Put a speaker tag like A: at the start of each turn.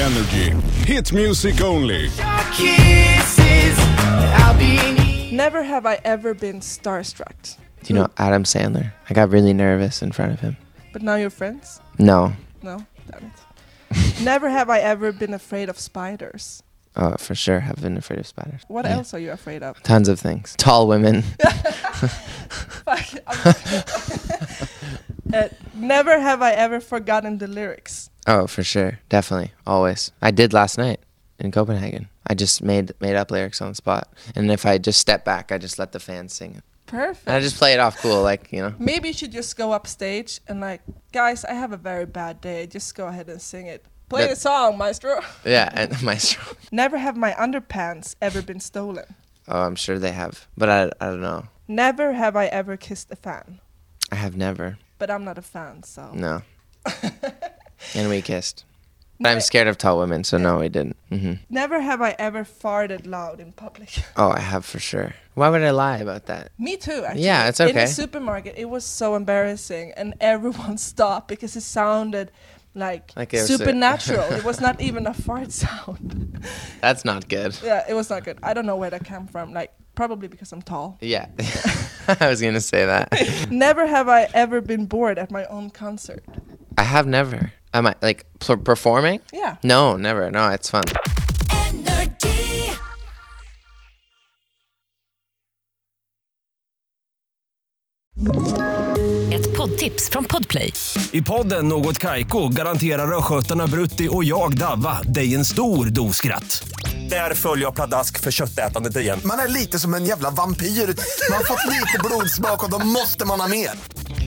A: Energy. Hit music only.
B: Never have I ever been starstruck.
C: Do you know Adam Sandler? I got really nervous in front of him.
B: But now you're friends?
C: No,
B: No? Damn it. Never have I ever been afraid of spiders.
C: uh, for sure, have been afraid of spiders.
B: What
C: Yeah.
B: else are you afraid of?
C: Tons of things. Tall women.
B: Fuck. I'm- Uh, never have I ever forgotten the lyrics.
C: Oh, for sure, definitely, always. I did last night in Copenhagen. I just made made up lyrics on the spot, and if I just step back, I just let the fans sing it,
B: Perfect.
C: and I just play it off cool, like you know.
B: Maybe you should just go upstage and like, guys, I have a very bad day. Just go ahead and sing it. Play
C: That-
B: the song, maestro.
C: Yeah, and maestro.
B: Never have my underpants ever been stolen.
C: Oh, I'm sure they have, but I I don't know.
B: Never have I ever kissed a fan.
C: I have never.
B: But I'm not a fan, so.
C: No. and we kissed. But I'm scared of tall women, so no, we didn't. hmm
B: Never have I ever farted loud in public.
C: Oh, I have for sure. Why would I lie about that?
B: Me too, actually.
C: Yeah, it's
B: In the
C: okay.
B: supermarket, it was so embarrassing, and everyone stopped because it sounded like,
C: Like it was a-
B: supernatural. it was not even a fart sound.
C: That's not good.
B: yeah, it was not good. I don't know where that came from. Like, probably because I'm tall.
C: Yeah. I was going to say that.
B: Never have I ever been bored at my own concert.
C: I have never. Am I like pl- performing?
B: Yeah.
C: No, never. No, it's fun.
D: Energy.
E: Ett poddtips från Podplay.
F: I podden Något Kaiko garanterar östgötarna Brutti och jag, Davva, dig en stor dos skratt. Där följer jag pladask för köttätandet igen.
G: Man är lite som en jävla vampyr. Man har fått lite blodsmak och då måste man ha mer.